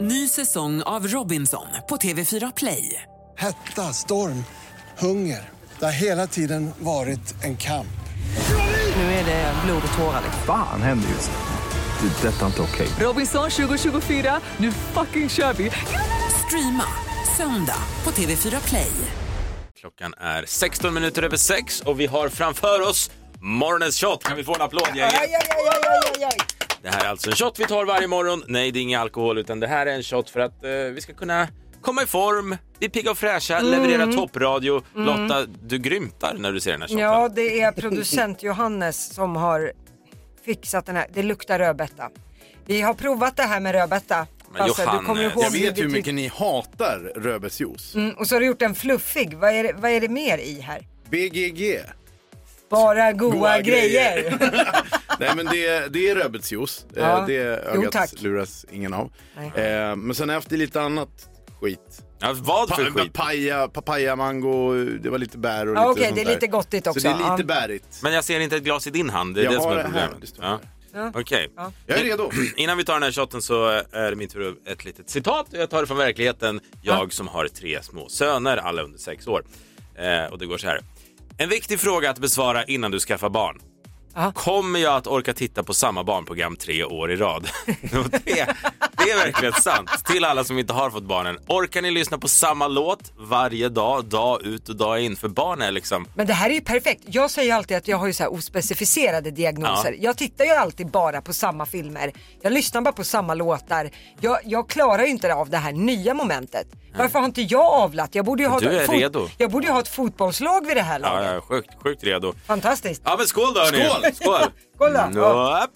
Ny säsong av Robinson på TV4 Play. Hetta, storm, hunger. Det har hela tiden varit en kamp. Nu är det blod och tårar. liksom. Fan händer just nu. Det. är Detta är inte okej. Robinson 2024, nu fucking kör vi! Streama söndag på TV4 Play. Klockan är 16 minuter över 6 och vi har framför oss morgonens shot. Kan vi få en applåd gänget? Det här är alltså en shot vi tar varje morgon. Nej, det är ingen alkohol utan det här är en shot för att eh, vi ska kunna komma i form, bli pigga och fräscha, leverera toppradio. Lotta, du grymtar när du ser den här shoten. Ja, det är producent Johannes som har fixat den här. Det luktar rödbeta. Vi har provat det här med rödbeta. Men Johannes. hur Jag vet vi hur tyck- mycket ni hatar rödbetsjuice. Mm, och så har du gjort en fluffig. Vad är det, vad är det mer i här? BGG. Bara goa, Goa grejer. grejer. Nej men det, det är rödbetsjuice. Eh, Ja. Det Jo, ögat tack. luras ingen av. Nej. Eh, men sen har jag haft lite annat skit. Ja, vad Pa- för skit? papaya, papaya, mango, det var lite bär och Ja, lite okej, sånt det är där. lite gottigt också. Så det är Ja. lite bärigt. Men jag ser inte ett glas i din hand, det är Jag det som har är det här, problemet. det står ja. Okej. Jag är redo. Innan vi tar den här shotten så eh, är det min tur att- ett litet citat. Jag tar det från verkligheten. Jag som har tre små söner, alla under sex år. Eh, och det går så här. En viktig fråga att besvara innan du skaffar barn. Ja. Kommer jag att orka titta på samma barnprogram tre år i rad? Och det, det är verkligen sant. Till alla som inte har fått barnen. Orkar ni lyssna på samma låt varje dag, dag ut och dag in? För barn är liksom... Men det här är ju perfekt. Jag säger ju alltid att jag har ju så här ospecificerade diagnoser. Ja. Jag tittar ju alltid bara på samma filmer. Jag lyssnar bara på samma låtar. Jag, jag klarar ju inte av det här nya momentet. Varför har inte jag avlat? Jag borde ju ha, Du är fot- redo. Jag borde ju ha ett fotbollslag vid det här Ja, laget. jag är sjukt, sjukt redo. Fantastiskt. Ja men skål då hörni! Skål! Skål! Mm, Skål då. Nå, upp.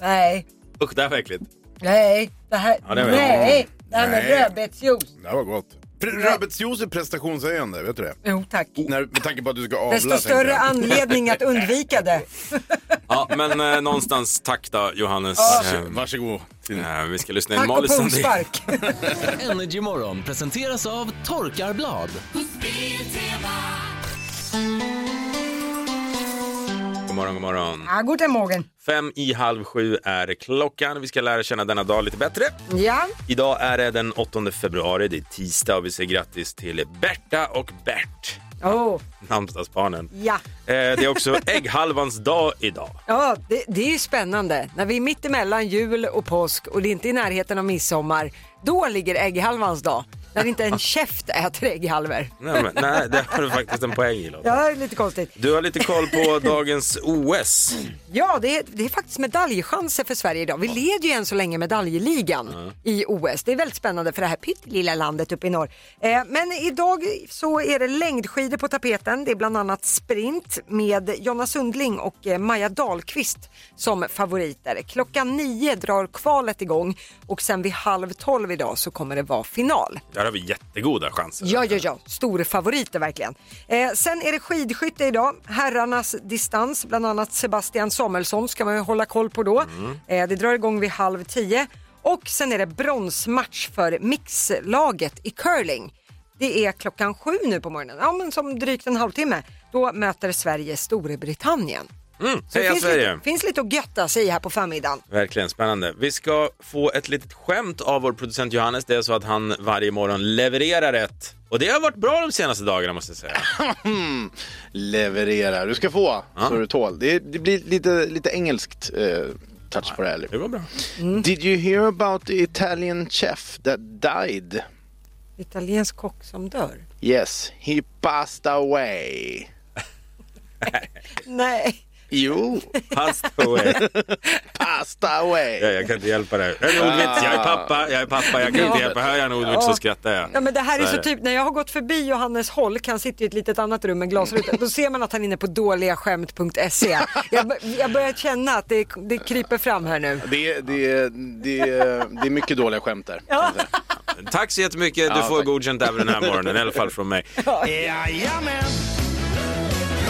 Nej, Usch, det här var äckligt. nej, det här, Ja, det var- nej, det här med Nej. rödbetsjuice. Det här var gott. Pr- Rödbetsjuice är prestationshöjande, vet du det? Jo tack. Oh, När, med tanke på att du ska avla. Desto tänker jag. större anledning att undvika det. Ja, men eh, någonstans tack då Johannes. Eh, Varsågod. Tina. eh, vi ska lyssna in Tack och Molly Sandén. pungspark. Energy Morgon presenteras av Torkarblad. God morgon, god morgon. Ja, guten morgen. Fem i halv sju är klockan. Vi ska lära känna denna dag lite bättre. Ja. Idag är det den 8 februari, det är tisdag och vi säger grattis till Berta och Bert, Oh, namnsdagsbarnen. ja. Eh, det är också ägghalvans dag idag. Ja, det, det är ju spännande. När vi är mitt emellan jul och påsk och det inte är i närheten av midsommar, då ligger ägghalvans dag. När inte en käft äter ägghalvor. Nej, men, nej det har du faktiskt en poäng i. Lotta. Ja, det är lite konstigt. Du har lite koll på dagens OS. Ja, det är, det är faktiskt medaljchanser för Sverige idag. Vi leder ju än så länge medaljligan i OS. Det är väldigt spännande för det här pyttelilla landet uppe i norr. Eh, men idag så är det längdskidor på tapeten. Det är bland annat sprint med Jonna Sundling och eh, Maja Dahlqvist som favoriter. Klockan nio drar kvalet igång och sen vid halv tolv idag så kommer det vara final. Där har vi jättegoda chanser. Ja, ja, ja. Stor favoriter verkligen. Eh, sen är det skidskytte idag. Herrarnas distans, bland annat Sebastian Samuelsson ska man ju hålla koll på då. Mm. Eh, det drar igång vid halv tio. Och sen är det bronsmatch för mixlaget i curling. Det är klockan sju nu på morgonen, ja men som drygt en halvtimme. Då möter Sverige Storbritannien. Mm, det heja finns, Sverige! lite, finns lite att götta sig i här på förmiddagen. Verkligen spännande. Vi ska få ett litet skämt av vår producent Johannes. Det är så att han varje morgon levererar ett. Och det har varit bra de senaste dagarna måste jag säga. Leverera. Du ska få så du tål. Det, det blir lite, lite engelskt eh, touch på det här. Det går bra. Did you hear about the Italian chef that died? Italiensk kock som dör. Yes, he passed away. Nej. Jo, Pass away. passed away. Ja, oh, jag kan inte hjälpa dig. Jag är en ordvits, jag är pappa, jag är pappa, jag kan inte hjälpa. Hör jag en ordvits så skrattar jag. Ja, men det här är Så är så det. typ, när jag har gått förbi Johannes Holk, han sitter i ett litet annat rum med glasruta, då ser man att han är inne på dåligaskämt.se. E. Jag, bör- jag börjar känna att det, det kryper fram här nu. Det, det, det, det är mycket dåliga skämt där. Tack så jättemycket. Du Ja, får tack. godkänt även den här morgonen, i alla fall från mig. Jajamän!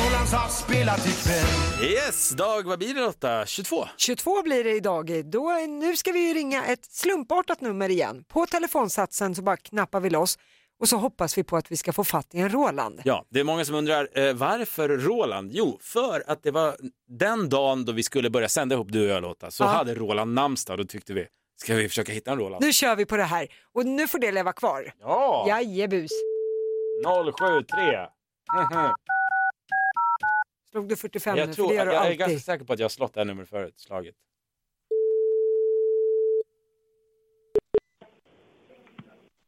Rolands har spelat ikväll Yes, dag, vad blir det Lotta? 22? 22 blir det idag. Då, är- nu ska vi ju ringa ett slumpartat nummer igen. På telefonsatsen så bara knappar vi loss och så hoppas vi på att vi ska få fatt i en Roland. Ja, det är många som undrar eh, varför Roland? Jo, för att det var den dagen då vi skulle börja sända ihop du och jag Lotta, så Ja. hade Roland namnsdag. Då tyckte vi, Ska vi försöka hitta en Roland? Nu kör vi på det här och nu får det leva kvar. Ja! Jajebus. 073. Slog du 45 jag, nu? För tror, det gör jag, du jag är alltid. ganska säker på att jag har slått det här numret förut, slaget.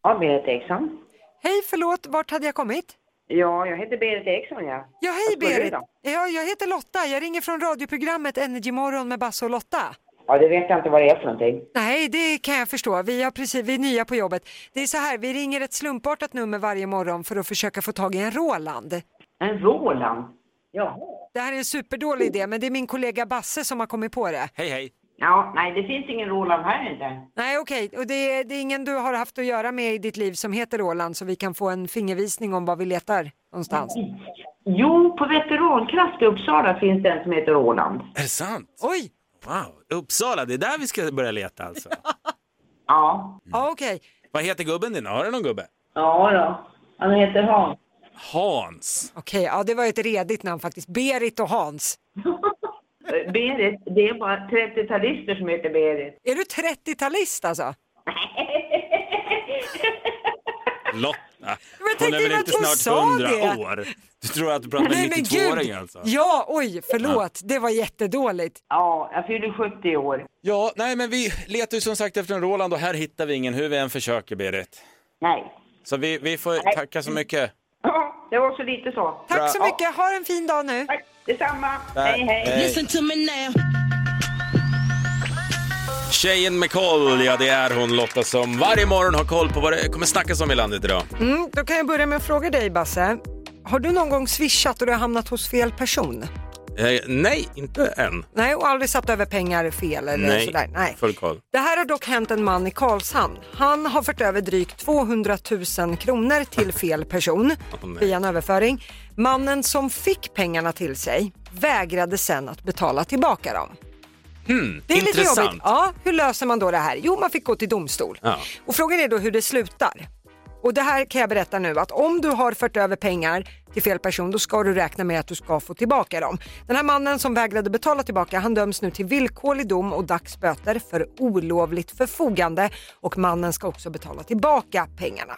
Ja, Berit Eriksson. Hej, förlåt, vart hade jag kommit? Ja, jag heter Berit Eriksson, ja. Ja, hej Vad ska du Berit. då? Ja, jag heter Lotta. Jag ringer från radioprogrammet Energy Morgon med Basse och Lotta. Ja, det vet jag inte vad det är för någonting. Nej, det kan jag förstå. Vi, har precis, vi är nya på jobbet. Det är så här, vi ringer ett slumpartat nummer varje morgon för att försöka få tag i en Roland. En Roland? Jaha. Det här är en superdålig idé, men det är min kollega Basse som har kommit på det. Hej hej! Ja, nej, det finns ingen Roland här inte. Nej, okej. Och det, är- det är ingen du har haft att göra med i ditt liv som heter Roland, så vi kan få en fingervisning om vad vi letar någonstans. Mm. Jo, på Veterankraft i Uppsala finns det en som heter Roland. Är det sant? Oj! Wow! Uppsala, det är där vi ska börja leta alltså. Ja. Ja, okej. Vad heter gubben din? Har du någon gubbe? Ja då. Han heter Hans. Hans. Okej, ja det var ett redigt namn faktiskt. Berit och Hans. Eh, Berit, det är bara 30-talister som heter Berit. Är du 30-talist alltså? Lotta. tänkte Hon är väl ju att inte hon snart sa 100 det. år? Du tror att du pratar med en 92-åring alltså? Ja, oj, förlåt. Det var jättedåligt. Ja, jag fyller 70 år. Ja, nej men vi letar ju som sagt efter en Roland och här hittar vi ingen hur vi än försöker Berit. Nej. Så vi, vi får tacka så mycket. Ja, det var så lite så. Tack så mycket, ha en fin dag nu. Tack, detsamma. Hej, hej. Tjejen med koll, ja det är hon Lotta som varje morgon har koll på vad det kommer snackas om i landet idag. Mm, då kan jag börja med att fråga dig Basse. Har du någon gång swishat och du har hamnat hos fel person? Eh, nej, inte än. Nej, och aldrig satt över pengar fel eller sådär? Nej. full koll. Det här har dock hänt en man i Karlshamn. Han har fört över drygt 200 000 kronor till fel person nej. via en överföring. Mannen som fick pengarna till sig vägrade sen att betala tillbaka dem. det är lite Hmm, intressant. jobbigt. Ja, hur löser man då det här? Jo, man fick gå till domstol. Ja. Och frågan är då hur det slutar. Och det här kan jag berätta nu att om du har fört över pengar till fel person då ska du räkna med att du ska få tillbaka dem. Den här mannen som vägrade betala tillbaka han döms nu till villkorlig dom och dagsböter för olovligt förfogande och mannen ska också betala tillbaka pengarna.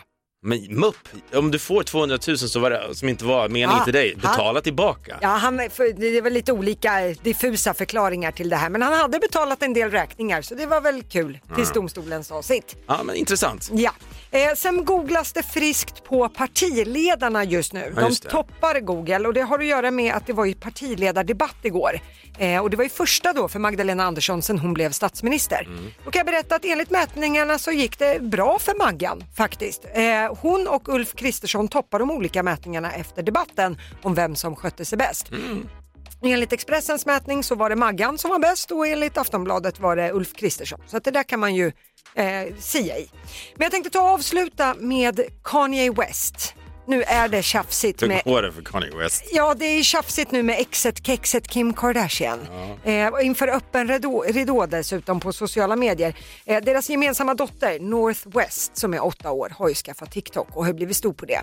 Men mupp, om du får 200 000 så var det, som inte var meningen Ah, till dig, ah. betala tillbaka. Ja, han, för, det var lite olika diffusa förklaringar till det här men han hade betalat en del räkningar så det var väl kul tills domstolen sa sitt. Ja, men intressant. Ja. Eh, sen googlas det friskt på partiledarna just nu. Ja, De just det. toppar Google och det har att göra med att det var ju partiledardebatt igår. Eh, och det var ju första då för Magdalena Andersson sen hon blev statsminister. Mm. Då kan jag berätta att enligt mätningarna så gick det bra för Maggan faktiskt. Eh, hon och Ulf Kristersson toppar de olika mätningarna efter debatten om vem som skötte sig bäst. Enligt Expressens mätning så var det Maggan som var bäst och enligt Aftonbladet var det Ulf Kristersson. Så att det där kan man ju eh, sia i. Men jag tänkte ta och avsluta med Kanye West. Nu är det tjafsigt Hur med går det för Kanye West? Ja, det är tjafsigt nu med exet kexet Kim Kardashian. Eh, och inför öppen ridå, ridå dessutom på sociala medier. Eh, deras gemensamma dotter North West som är åtta år har ju skaffat TikTok och har blivit stor på det.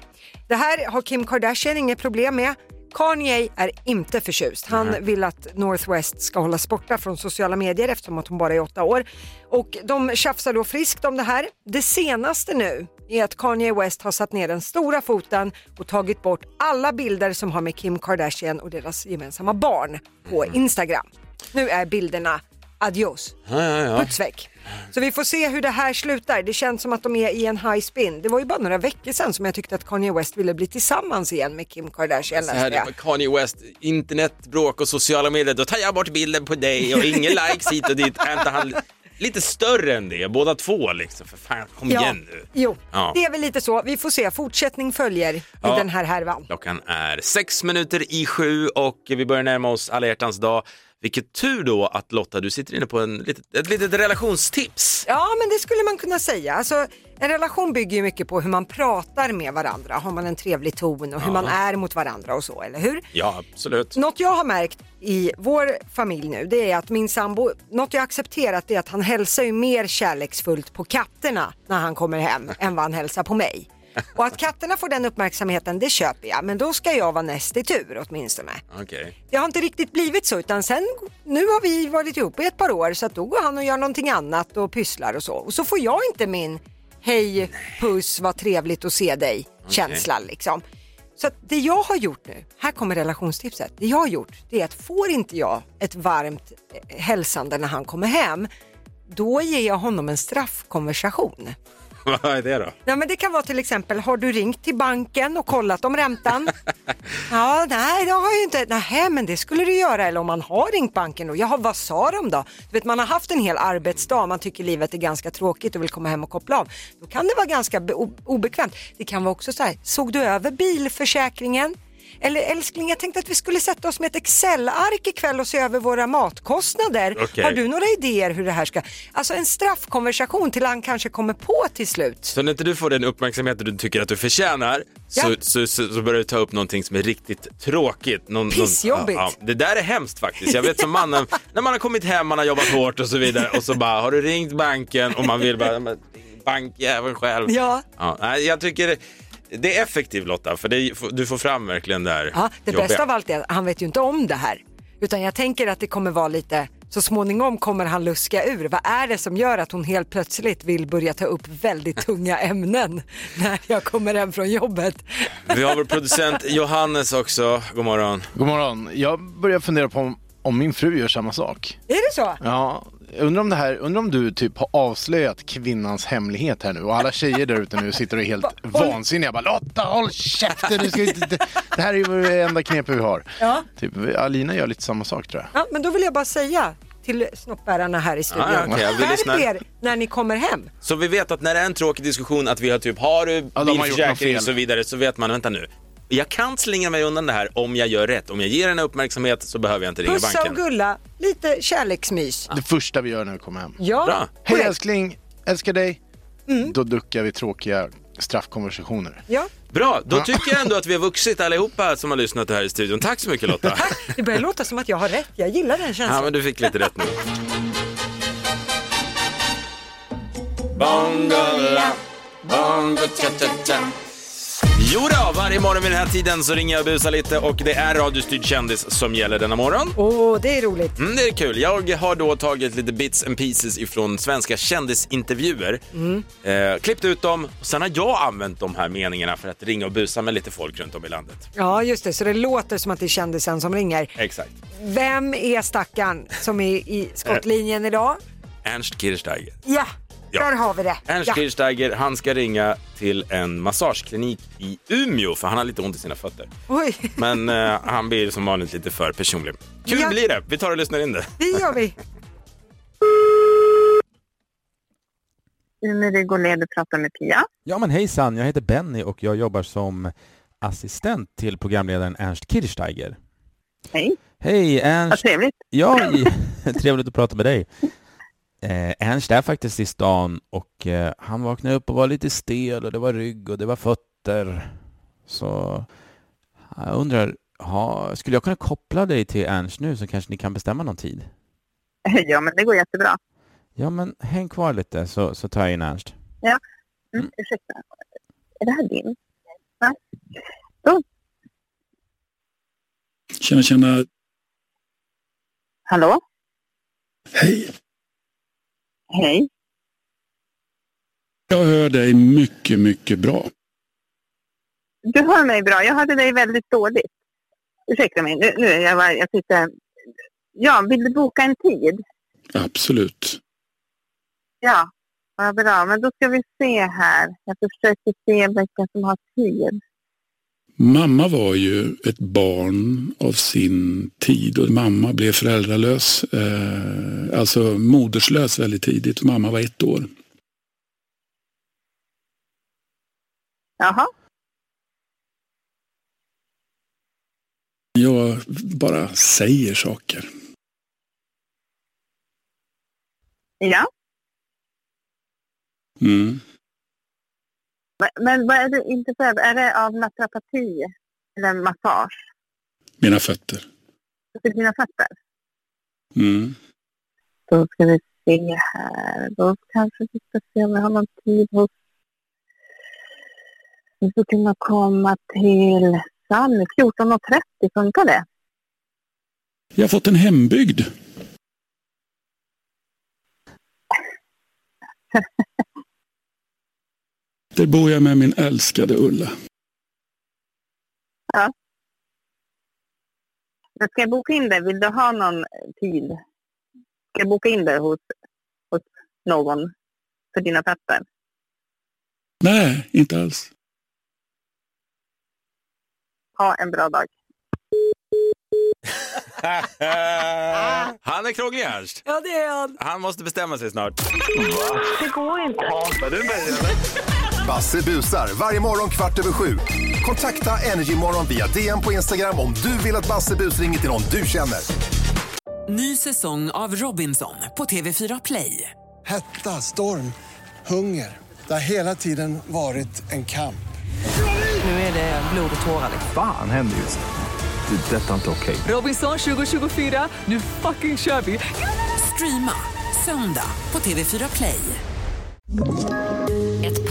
Det här har Kim Kardashian inget problem med. Kanye är inte förtjust. Han vill att North West ska hållas borta från sociala medier eftersom att hon bara är åtta år. Och de tjafsar då friskt om det här. Det senaste nu är att Kanye West har satt ner den stora foten och tagit bort alla bilder som har med Kim Kardashian och deras gemensamma barn på Mm. Instagram. Nu är bilderna adios, puts väck. Så vi får se hur det här slutar. Det känns som att de är i en high spin. Det var ju bara några veckor sedan som jag tyckte att Kanye West ville bli tillsammans igen med Kim Kardashian. Så läste jag. Alltså, här, Kanye West, internetbråk och sociala medier, då tar jag bort bilden på dig och ingen likes hit och dit. Är inte han lite större än det, båda två liksom? För fan, kom igen nu. Jo, Ja. det är väl lite så. Vi får se. Fortsättning följer i Ja. den här härvan. Klockan är sex minuter i sju och vi börjar närma oss alla hjärtans dag. Vilket tur då att Lotta, du sitter inne på en, litet- ett litet relationstips. Ja, men det skulle man kunna säga. Alltså, en relation bygger ju mycket på hur man pratar med varandra. Har man en trevlig ton och hur man är mot varandra och så, eller hur? Ja, absolut. Något jag har märkt i vår familj nu, det är att min sambo, något jag accepterat är att han hälsar ju mer kärleksfullt på katterna när han kommer hem än vad han hälsar på mig. Och att katterna får den uppmärksamheten, det köper jag. Men då ska jag vara näst i tur åtminstone. Okej. Det har inte riktigt blivit så utan sen, nu har vi varit ihop i ett par år så att då går han och gör någonting annat och pysslar och så. Och så får jag inte min hej, puss, vad trevligt att se dig känsla liksom. Så att det jag har gjort nu, här kommer relationstipset. Det jag har gjort det är att får inte jag ett varmt eh, hälsande när han kommer hem, då ger jag honom en straffkonversation. Vad är det då? Nej, men det kan vara till exempel, har du ringt till banken och kollat om räntan? ja, nej, det har jag ju inte. Nej, men det skulle du göra. Eller om man har ringt banken då. Jaha, vad sa de då? Du vet, man har haft en hel arbetsdag, man tycker livet är ganska tråkigt och vill komma hem och koppla av. Då kan det vara ganska be- o- obekvämt. Det kan vara också så här, såg du över bilförsäkringen? Eller älskling, jag tänkte att vi skulle sätta oss med ett Excel-ark ikväll och se över våra matkostnader. Okej. Har du några idéer hur det här ska... Alltså en straffkonversation till han kanske kommer på till slut. Så när inte du får den uppmärksamheten du tycker att du förtjänar så, Ja. så, så, så börjar du ta upp någonting som är riktigt tråkigt. Någon, någon- Pissjobbigt. ja, ja. Det där är hemskt faktiskt. Jag vet som mannen, när man har kommit hem, man har jobbat hårt och så vidare och så bara har du ringt banken och man vill bara "Men, bankjäveln själv. Ja. ja. nej, Jag tycker det är effektivt Lotta för det, du får fram verkligen det här Ja, det jobbiga. bästa av allt är att han vet ju inte om det här. Utan jag tänker att det kommer vara lite, så småningom kommer han luska ur. Vad är det som gör att hon helt plötsligt vill börja ta upp väldigt tunga ämnen när jag kommer hem från jobbet? Vi har vår producent Johannes också. God morgon. God morgon. Jag börjar fundera på om, om min fru gör samma sak. Är det så? Ja, undrar om, det här, undrar om du typ har avslöjat kvinnans hemlighet här nu och alla tjejer där ute nu sitter och är helt vansinniga. Bara, Lotta, håll käften! Du ska inte... det- Det här är ju det enda knepet vi har. Ja. Typ, Alina gör lite samma sak tror jag. Ja, men då vill jag bara säga till snoppbärarna här i studion. Ah, Ja, ja, okej, vi lyssnar. Skärp er när ni kommer hem. Så vi vet att när det är en tråkig diskussion att vi har typ, har du har gjort något bilförsäkring fel. och så vidare, så vet man, vänta nu. Jag kan slingra mig undan det här om jag gör rätt. Om jag ger henne uppmärksamhet så behöver jag inte ringa Pussa och banken. Ah, gulla, lite kärleksmys. Det första vi gör när vi kommer hem. Ja, Mm. Bra. Hej korrekt. älskling, älskar dig. Då duckar vi tråkiga straffkonversationer. Ja. Bra, då tycker jag ändå att vi har vuxit allihopa som har lyssnat här i studion. Tack så mycket Lotta. Det börjar låta som att jag har rätt, jag gillar den känslan. ja, men du fick lite rätt nu. Bongola, bongo cha cha cha. Jo då, varje morgon vid den här tiden så ringer jag och busar lite och det är radiostyrd kändis som gäller denna morgon. Åh, det är roligt. Mm, det är kul. Jag har då tagit lite bits and pieces ifrån svenska kändisintervjuer, eh, klippt ut dem och sen har jag använt de här meningarna för att ringa och busa med lite folk runt om i landet. Ja, just det, så det låter som att det är kändisen som ringer. Exakt. Vem är stackaren som är i skottlinjen idag? Ernst Kirchsteiger. Ja, Ja. där har vi det. Ernst Ja. Kirchsteiger, han ska ringa till en massageklinik i Umeå för han har lite ont i sina fötter. Oj, Men eh, han blir som vanligt lite för personlig. Kul Ja. blir det. Vi tar och lyssnar in det. det gör vi. Umeå, vi går ner och pratar med Pia. Ja men hejsan, jag heter Benny och jag jobbar som assistent till programledaren Ernst Kirchsteiger. Hej. Hej Ernst! trevligt. Ja, i- trevligt att prata med dig. Eh, Ernst är faktiskt i stan och eh, han vaknade upp och var lite stel och det var rygg och det var fötter. Så jag undrar, ha, skulle jag kunna koppla dig till Ernst nu så kanske ni kan bestämma någon tid? Ja, men det går jättebra. Ja men häng kvar lite så, så tar jag in Ernst. Mm, ursäkta, är det här din? Tjena, tjena. Hallå? Hej. Hej. Jag hör dig mycket, mycket bra. Du hör mig bra. Jag hörde dig väldigt dåligt. Ursäkta mig, nu, nu är jag, bara- jag sitter... Ja, vill du boka en tid? Absolut. Ja, vad bra. Men då ska vi se här. Jag försöker se vilka som har tid. Mamma var ju ett barn av sin tid och mamma blev föräldralös, eh, alltså moderslös väldigt tidigt. Mamma var ett år. Jaha. Jag bara säger saker. Ja. Mm. Men- Men vad är du intresserad av? Är det av naprapati eller massage? Mina fötter. För dina fötter? Mm. Då ska vi se här. Då kanske vi ska se om vi har någon tid hos... Du skulle kunna komma till Sally 14.30, funkar det? Jag har fått en hembygd. Där bor jag med min älskade Ulla. Ja. Men ska jag boka in det? Vill du ha någon tid? Ska jag boka in det hos, hos någon för dina papper? Nej, inte alls. Ha en bra dag. Han är krånglig Ernst. Ja, det är han. Han måste bestämma sig snart. Det går inte. Basse busar varje morgon kvart över sju. Kontakta Energymorgon via DM på Instagram om du vill att Basse bus ringer till någon du känner. Ny säsong av Robinson på TV4 Play. Hetta, storm, hunger. Det har hela tiden varit en kamp. Nu är det blod och tårar. liksom. Fan händer just nu. Det. är Detta är inte okej. Robinson 2024, nu fucking kör vi! Streama söndag på TV4 Play. Ett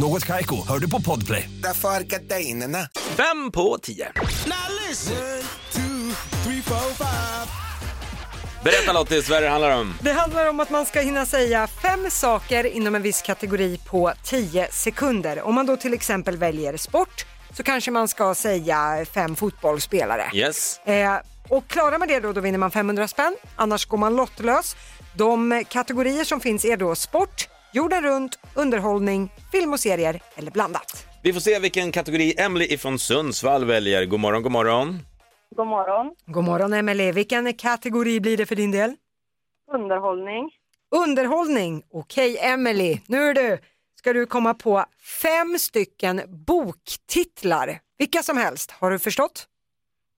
Något Kaiko, hör du på Podplay. Därför är gardinerna. Fem på tio. Berätta Lottis, vad är det handlar om? Det handlar om att man ska hinna säga fem saker inom en viss kategori på 10 sekunder. Om man då till exempel väljer sport så kanske man ska säga fem fotbollsspelare. Yes. Eh, och klarar man det då, då vinner man 500 spänn. Annars går man lottlös. De kategorier som finns är då sport, jorden runt, underhållning, film och serier eller blandat. Vi får se vilken kategori Emily ifrån Sundsvall väljer. God morgon, god morgon. God morgon. God morgon Emelie, vilken kategori blir det för din del? Underhållning. Underhållning. Okej Emelie, nu är du. Ska du komma på fem stycken boktitlar, vilka som helst. Har du förstått?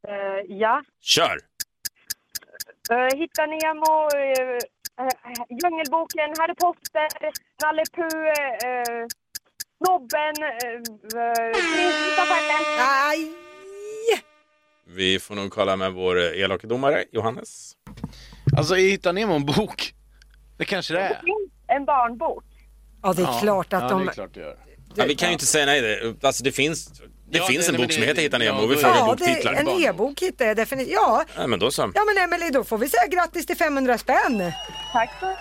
Eh, ja. Kör! Eh, Hitta Nemo, eh, eh, Djungelboken, Harry Potter, Nalle Puh, eh, Snobben, eh, eh, Prinsen av Stjärten. Nej! Vi får nog kolla med vår eh, elake domare, Johannes. Alltså, Hitta Nemo en bok. Det kanske det är. En barnbok. Ja, det är klart att ja, de... Det är klart det gör. Ja, vi kan ju inte säga nej. Det, alltså, det finns, det Ja, finns en det- nej, bok men som det- heter Hitta Nemo ja, och vi då- frågar Ja, det, boktitlar. en e-bok hittar jag definitivt. Ja. Nej, men då så. ja, men Emelie, då får vi säga grattis till 500 spänn. Tack så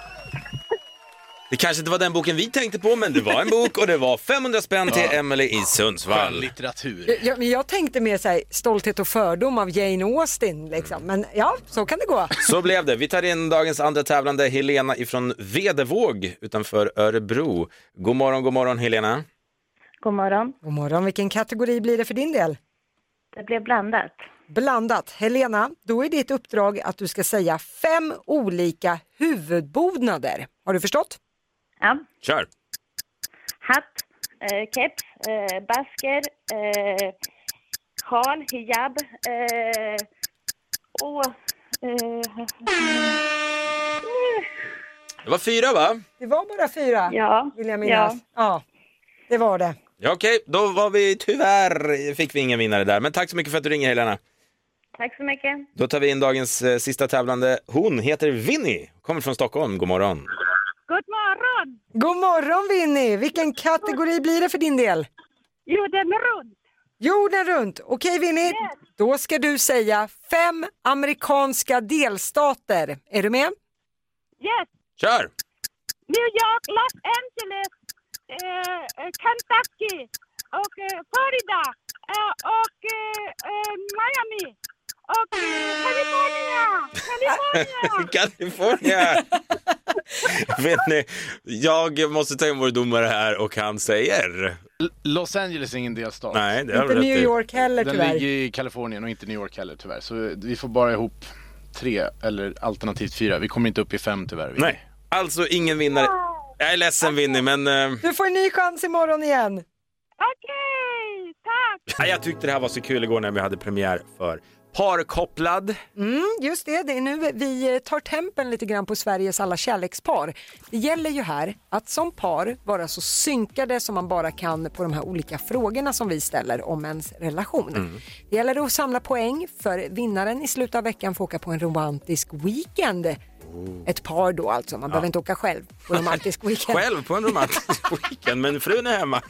Det kanske inte var den boken vi tänkte på, men det var en bok och det var 500 spänn till Emily i Sundsvall. Skönlitteratur. Jag, jag, men jag tänkte mer så här, stolthet och fördom av Jane Austen, liksom. men ja, så kan det gå. Så blev det. Vi tar in dagens andra tävlande, Helena ifrån Vedevåg utanför Örebro. God morgon, god morgon Helena. God morgon. God morgon, vilken kategori blir det för din del? Det blev blandat. Blandat. Helena, då är ditt uppdrag att du ska säga fem olika huvudbonader. Har du förstått? Ja. Kör! Hatt, eh, keps, eh, basker, eh, sjal, hijab. Eh, och, eh, Det var fyra va? Det var bara fyra, ja. vill jag minnas. Ja. det var det. Ja, okej, då var vi tyvärr, fick vi ingen vinnare där. Men tack så mycket för att du ringer Helena. Tack så mycket. Då tar vi in dagens eh, sista tävlande. Hon heter Vinny, kommer från Stockholm. God morgon. God morgon! God morgon Winnie, vilken kategori blir det för din del? Jorden runt. Jorden runt. Okej Winnie, då ska du säga fem amerikanska delstater. Är du med? Yes. Kör! New York, Los Angeles, eh, eh, Kentucky och eh, Florida eh, och eh, eh, Miami och eh, California. California. California! Vet ni, jag måste ta in vår domare här och han säger... L- Los Angeles är ingen delstat. Nej, det har Inte du rätt New i. York heller Den tyvärr. ligger i Kalifornien och inte New York heller tyvärr. Så vi får bara ihop tre eller alternativt fyra. Vi kommer inte upp i fem tyvärr. Vicky. Nej, alltså ingen vinnare. Jag är ledsen Winnie, men... eh, Du får en ny chans imorgon igen. Okej, tack. Ja, jag tyckte det här var så kul igår när vi hade premiär för Parkopplad. Mm, just det, det är nu vi tar tempen lite grann på Sveriges alla kärlekspar. Det gäller ju här att som par vara så synkade som man bara kan på de här olika frågorna som vi ställer om ens relation. Mm. Det gäller att samla poäng för vinnaren i slutet av veckan får åka på en romantisk weekend. Ett par då alltså, man Oh. Ja. behöver inte åka själv på romantisk weekend. Själv på en romantisk weekend, men frun är hemma.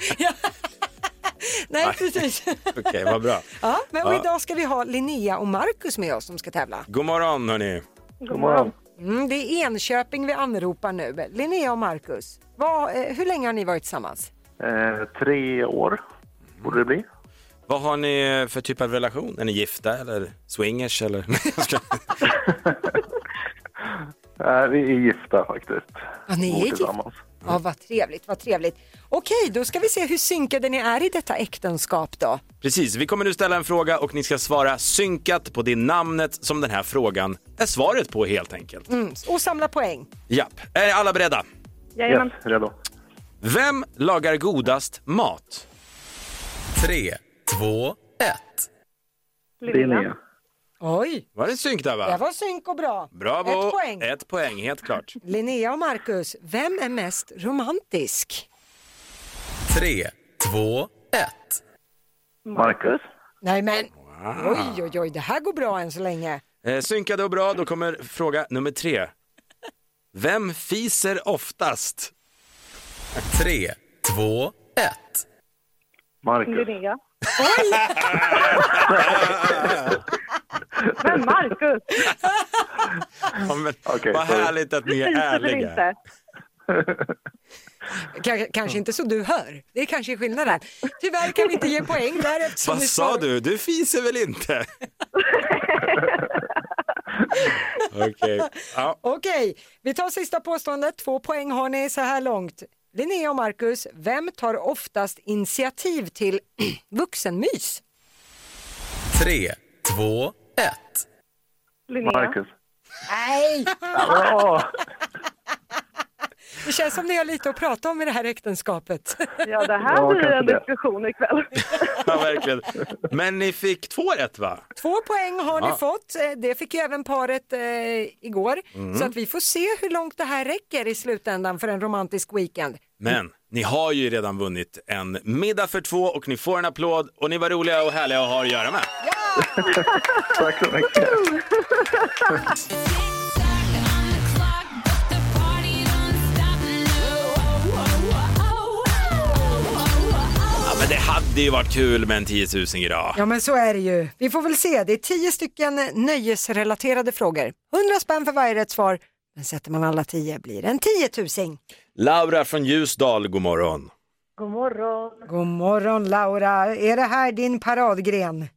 Nej, precis. Okej, vad bra. Ja, men och Ja. idag ska vi ha Linnea och Marcus med oss som ska tävla. God morgon hörni. God Mm, det är Enköping vi anropar nu. Linnea och Marcus, vad, eh, hur länge har ni varit tillsammans? Eh, tre år borde det bli. Vad har ni för typ av relation? Är ni gifta eller swingers eller? Eh, vi är gifta faktiskt. Ja, ni Bor är gifta. tillsammans. Ja, vad trevligt, vad trevligt. Okej, då ska vi se hur synkade ni är i detta äktenskap då. Precis, vi kommer nu ställa en fråga och ni ska svara synkat på det namnet som den här frågan är svaret på helt enkelt. Mm, och samla poäng. Japp, är alla beredda? redo. Vem lagar godast mat? Tre, två, ett. Linnea. Oj, Var det synk där det va? var synk och bra. Bravo! Ett poäng. Ett poäng, helt klart. Linnea och Marcus, vem är mest romantisk? Tre, två, ett. Marcus. Nej men, Wow. oj oj oj, det här går bra än så länge. Eh, synkade och bra, då kommer fråga nummer tre. Vem fiser oftast? Tre, två, ett. Linnea. Oj! Men Marcus! Ja, men, vad härligt att ni är Fiser väl ärliga. inte? Kans- kanske inte så du hör, det är kanske skillnaden. Tyvärr kan vi inte ge poäng där eftersom Vad ni sa svarar- du? Du fiser väl inte? Okej. Ja. Okej, vi tar sista påståendet. Två poäng har ni så här långt. Linnea och Marcus, vem tar oftast initiativ till vuxenmys? Tre, två, ett. Marcus. Nej! Det känns som ni har lite att prata om i det här äktenskapet. Ja, det här Ja, blir en kanske det. diskussion ikväll. Ja, verkligen. Men ni fick två rätt va? Två poäng har ni Ja. fått. Eh, Det fick ju även paret eh, igår. Mm. Så att vi får se hur långt det här räcker i slutändan för en romantisk weekend. Men ni har ju redan vunnit en middag för två och ni får en applåd och ni var roliga och härliga att ha att göra med. Tack så mycket. Ja, men det hade ju varit kul med en 10 000 idag. Ja men så är det ju. Vi får väl se. Det är tio stycken eh, nöjesrelaterade frågor. 100 spänn för varje rätt svar. Men sätter man alla tio blir det en tiotusing. Laura från Ljusdal, god morgon. God morgon. God morgon Laura. Är det här din paradgren?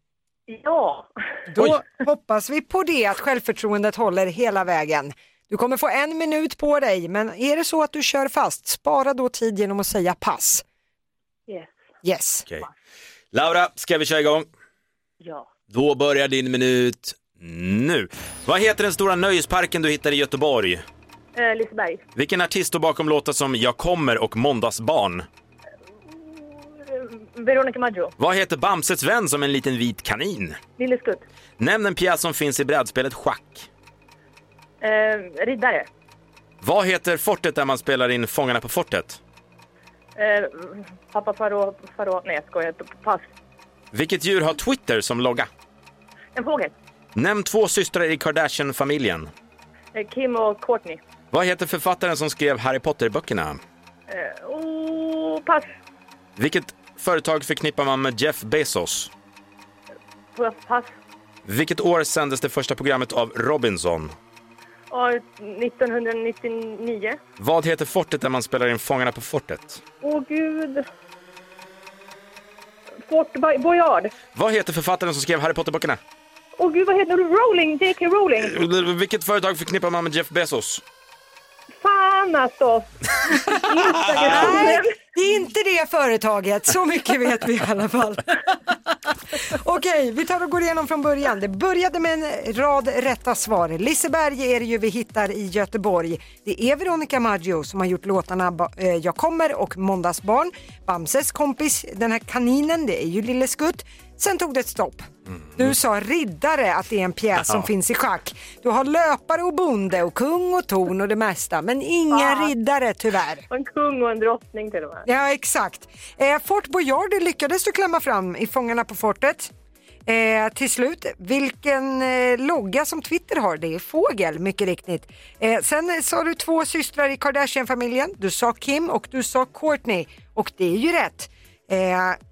Ja. Då hoppas vi på det, att självförtroendet håller hela vägen. Du kommer få en minut på dig, men är det så att du kör fast, spara då tid genom att säga pass. Yes. Yes. Okej. Laura, ska vi köra igång? Ja. Då börjar din minut nu. Vad heter den stora nöjesparken du hittar i Göteborg? Eh, Liseberg. Vilken artist står bakom låtar som Jag kommer och Måndagsbarn? Eh, Veronica Maggio. Vad heter Bamses vän som en liten vit kanin? Lille Skutt. Nämn en pjäs som finns i brädspelet schack. Eh, riddare. Vad heter fortet där man spelar in Fångarna på fortet? Eh, pappa Farao... Farao... Nej, jag skojar. Pass. Vilket djur har Twitter som logga? En fågel. Nämn två systrar i Kardashian-familjen. Eh, Kim och Courtney. Vad heter författaren som skrev Harry Potter-böckerna? Eh, oh, pass. Vilket företag förknippar man med Jeff Bezos? Pass. pass. Vilket år sändes det första programmet av Robinson? Ja, 1999. Vad heter fortet där man spelar in Fångarna på fortet? Åh, gud. Fort Bo- Boyard. Vad heter författaren som skrev Harry Potter-böckerna? Åh, gud, vad heter du? Rowling? J.K. Rowling? Vilket företag förknippar man med Jeff Bezos? Fan alltså! Nej, det är inte det företaget, så mycket vet vi i alla fall. Okej, Okej, vi tar och går igenom från början. Det började med en rad rätta svar. Liseberg är det ju vi hittar i Göteborg. Det är Veronica Maggio som har gjort låtarna ba- eh, Jag kommer och Måndagsbarn. Bamses kompis, den här kaninen, det är ju Lille Skutt. Sen tog det ett stopp. Du sa riddare, att det är en pjäs som Mm. Ja. finns i schack. Du har löpare och bonde och kung och torn och det mesta, men inga Ja. riddare tyvärr. En kung och en drottning till och med. Ja, exakt. Eh, Fort Boyard lyckades du klämma fram i Fångarna på fortet. Eh, till slut, vilken eh, logga som Twitter har, det är fågel, mycket riktigt. Eh, sen eh, sa du två systrar i Kardashian-familjen, du sa Kim och du sa Courtney och det är ju rätt. Eh,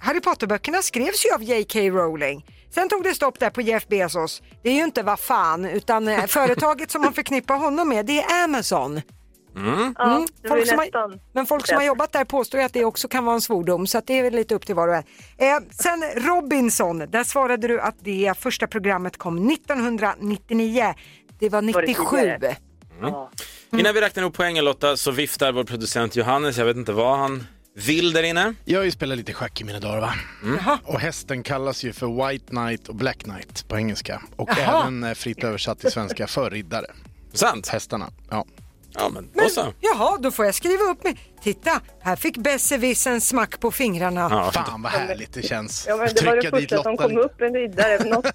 Harry Potter-böckerna skrevs ju av J.K. Rowling. Sen tog det stopp där på Jeff Bezos. Det är ju inte vad fan, utan eh, företaget som man förknippar honom med, det är Amazon. Mm. Mm, det folk blir som nästan har, men folk som har rätt. jobbat där påstår ju att det också kan vara en svordom så att det är väl lite upp till var och en. Eh, sen Robinson, där svarade du att det första programmet kom 1999. Det var Var det 97. tidigare? Mm. Innan vi räknar ihop poängen Lotta så viftar vår producent Johannes, jag vet inte vad han vill där inne. Jag har ju spelat lite schack i mina dagar va? Och hästen kallas ju för White Knight och Black Knight på engelska. Och Jaha. även eh, fritt översatt till svenska för riddare. Sant? Hästarna, ja. Ja men, Men, jaha, då får jag skriva upp mig. Titta, här fick Besserwiss en smack på fingrarna. Fan vad härligt det känns. Ja, men det var det första som kom upp, en riddare. Något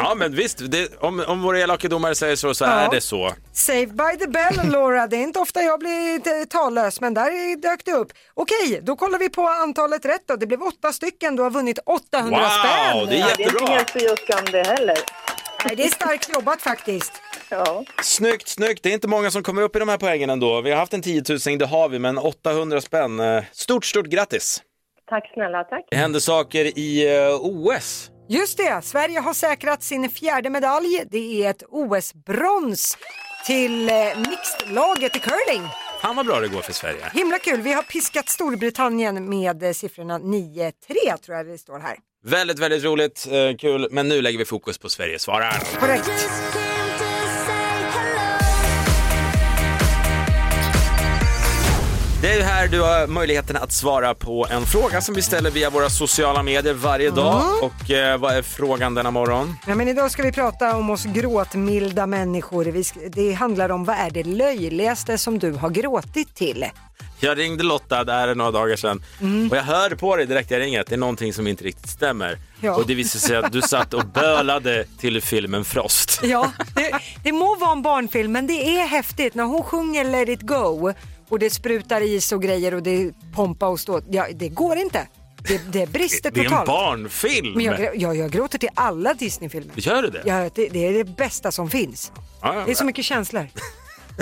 Ja men visst, det, om, om våra elaka domare säger så så Ja. är det så. Saved by the bell, Laura. Det är inte ofta jag blir t- tallös, men där dök det upp. Okej, då kollar vi på antalet rätt då. Det blev åtta stycken. Du har vunnit 800 Wow, spänn. det är Ja, det är jättebra. inte helt fy och skam det heller. Nej, det är starkt jobbat faktiskt. Ja. Snyggt, snyggt. Det är inte många som kommer upp i de här poängen ändå. Vi har haft en 10 000, det har vi, men 800 spänn. eh, Stort, stort grattis! Tack snälla, tack. Det händer saker i eh, OS. Just det, Sverige har säkrat sin fjärde medalj. Det är ett OS-brons till eh, mixedlaget i curling. Fan vad bra det går för Sverige. Himla kul. Vi har piskat Storbritannien med eh, siffrorna 9-3 tror jag det står här. Väldigt, väldigt roligt, eh, kul, men nu lägger vi fokus på Sverige svarar. Korrekt. Det är ju här du har möjligheten att svara på en fråga som vi ställer via våra sociala medier varje dag. Mm. Och eh, vad är frågan denna morgon? Ja, men idag ska vi prata om oss gråtmilda människor. Vi sk- det handlar om vad är det löjligaste som du har gråtit till? Jag ringde Lotta där några dagar sedan Mm. och jag hör på dig direkt jag ringer att det är någonting som inte riktigt stämmer. Ja. Och det visade sig att du satt och bölade till filmen Frost. Ja, det, det må vara en barnfilm men det är häftigt när hon sjunger Let it go och det sprutar is och grejer och det pompa och stå. Ja, det går inte. Det, det brister Det är en totalt. barnfilm! Men jag, grä- jag, jag gråter till alla Disney-filmer. Gör du det? Ja, det, det är det bästa som finns. Ja, ja, Det är så mycket känslor.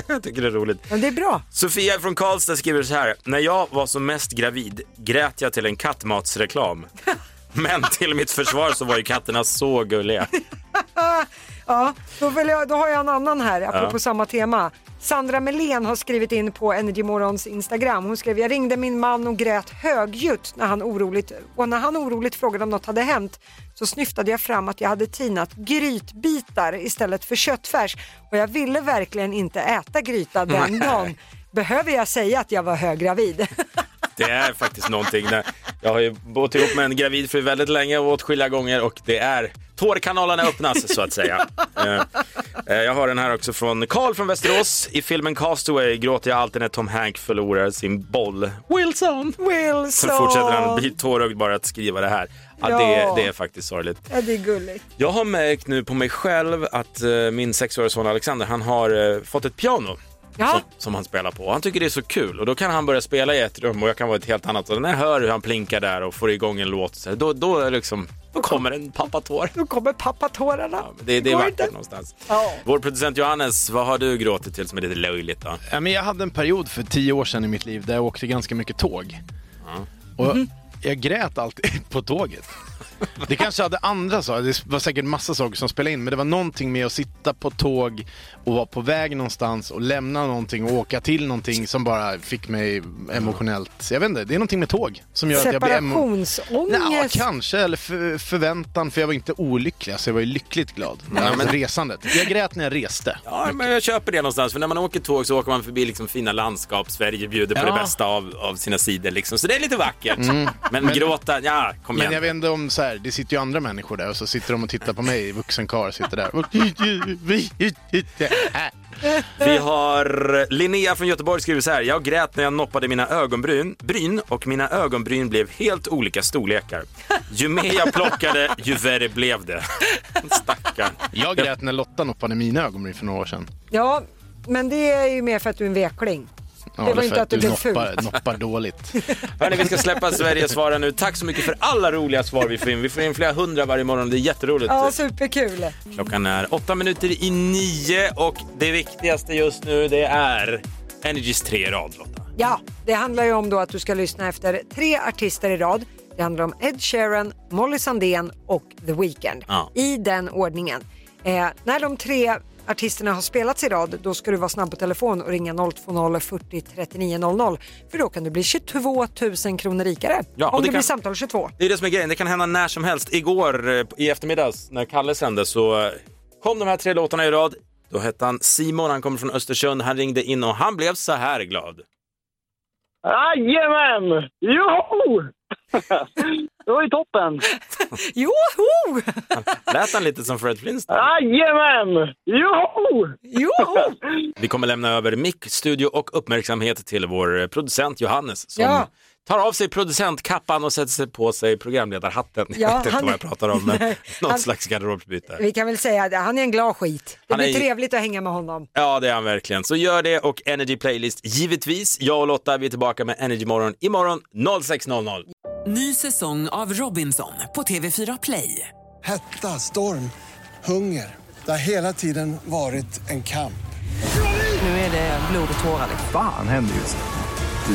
Jag tycker det är roligt. Men det är bra. Sofia från Karlstad skriver så här. När jag var som mest gravid grät jag till en kattmatsreklam. Men till mitt försvar så var ju katterna så gulliga. ja, då, vill jag, då har jag en annan här, apropå Ja. samma tema. Sandra Melén har skrivit in på Energymorgons Instagram. Hon skrev, jag ringde min man och grät högljutt när han oroligt, och när han oroligt frågade om något hade hänt så snyftade jag fram att jag hade tinat grytbitar istället för köttfärs och jag ville verkligen inte äta gryta den Nej. dagen. Behöver jag säga att jag var höggravid? Det är faktiskt någonting. När jag har ju bott ihop med en gravid fru väldigt länge och åtskilliga gånger och det är tårkanalerna öppnas så att säga. Eh, eh, Jag har den här också från Karl från Västerås. I filmen Castaway gråter jag alltid när Tom Hank förlorar sin boll. Wilson! Wilson! Sen fortsätter han bli tårögd bara att skriva det här. Ja, det, Ja. är, det är faktiskt sorgligt. Ja, det är gulligt. Jag har märkt nu på mig själv att eh, min sexåriga son Alexander, han har eh, fått ett piano. Som, som han spelar på. Han tycker det är så kul och då kan han börja spela i ett rum och jag kan vara i ett helt annat. Och när jag hör hur han plinkar där och får igång en låt, så här, då, då, är det liksom, då kommer en pappatår. Då kommer pappatårarna. Ja, Det, det är Går vackert någonstans. Vår producent Johannes, vad har du gråtit till som är lite löjligt då? Ja, men jag hade en period för tio år sedan i mitt liv där jag åkte ganska mycket tåg. Och Mhm. jag grät alltid på tåget. Det kanske hade andra saker, det var säkert massa saker som spelade in, men det var någonting med att sitta på tåg och vara på väg någonstans och lämna någonting och åka till någonting som bara fick mig emotionellt, jag vet inte, det är någonting med tåg som gör att jag blir emo- Ja, Separationsångest. kanske, eller för, förväntan, för jag var inte olycklig, alltså jag var ju lyckligt glad. Ja, alltså, men- resandet. Jag grät när jag reste. Ja, men jag köper det någonstans. För när man åker tåg så åker man förbi liksom fina landskap. Sverige bjuder på Ja. det bästa av, av sina sidor liksom. Så det är lite vackert. Mm. Men, Men- gråta, ja, kom Men igen. jag vet inte om så där, det sitter ju andra människor där och så sitter de och tittar på mig, vuxen karl sitter där. Vi har Linnea från Göteborg skriver så här. Jag grät när jag noppade mina ögonbryn bryn, och mina ögonbryn blev helt olika storlekar. Ju mer jag plockade, ju värre blev det. Stackarn. Jag grät när Lotta noppade mina ögonbryn för några år sedan. Ja, men det är ju mer för att du är en vekling. Ja, det var för inte att du blev ful. noppar, noppar dåligt. Hörni, vi ska släppa Sverige svarar nu. Tack så mycket för alla roliga svar vi får in. Vi får in flera hundra varje morgon. Det är jätteroligt. Ja, superkul. Klockan är åtta minuter i nio och det viktigaste just nu det är Energys tre i rad Lotta. Ja, det handlar ju om då att du ska lyssna efter tre artister i rad. Det handlar om Ed Sheeran, Molly Sandén och The Weeknd. Ja. I den ordningen. Eh, när de tre artisterna har spelats i rad, då ska du vara snabb på telefon och ringa 020 40 39 00. För då kan du bli 22 000 kronor rikare. Ja, och om det det, blir kan- samtal 22. Det är det som är grejen, det kan hända när som helst. Igår eh, i eftermiddags när Kalle sände så eh, kom de här tre låtarna i rad. Då hette han Simon, han kommer från Östersund, han ringde in och han blev så här glad. Jajamän! Joho! Det var ju toppen! Joho! Lät han lite som Fred Flintstone? Jajamän! Joho! Joho! Vi kommer lämna över mick, studio och uppmärksamhet till vår eh, producent Johannes som Ja. tar av sig producentkappan och sätter sig på sig programledarhatten. Ja, jag vet inte han- vad jag pratar om, men Nej, något han- slags garderobsbyte. Vi kan väl säga att han är en glad skit. Det Han blir är- trevligt att hänga med honom. Ja, det är han verkligen. Så gör det och Energy Playlist givetvis. Jag och Lotta, vi är tillbaka med Energy Morgon imorgon 06.00. Ny säsong av Robinson på TV4 Play. Hetta, storm, hunger. Det har hela tiden varit en kamp. Nu är det blod och tårar. liksom. Fan händer just nu.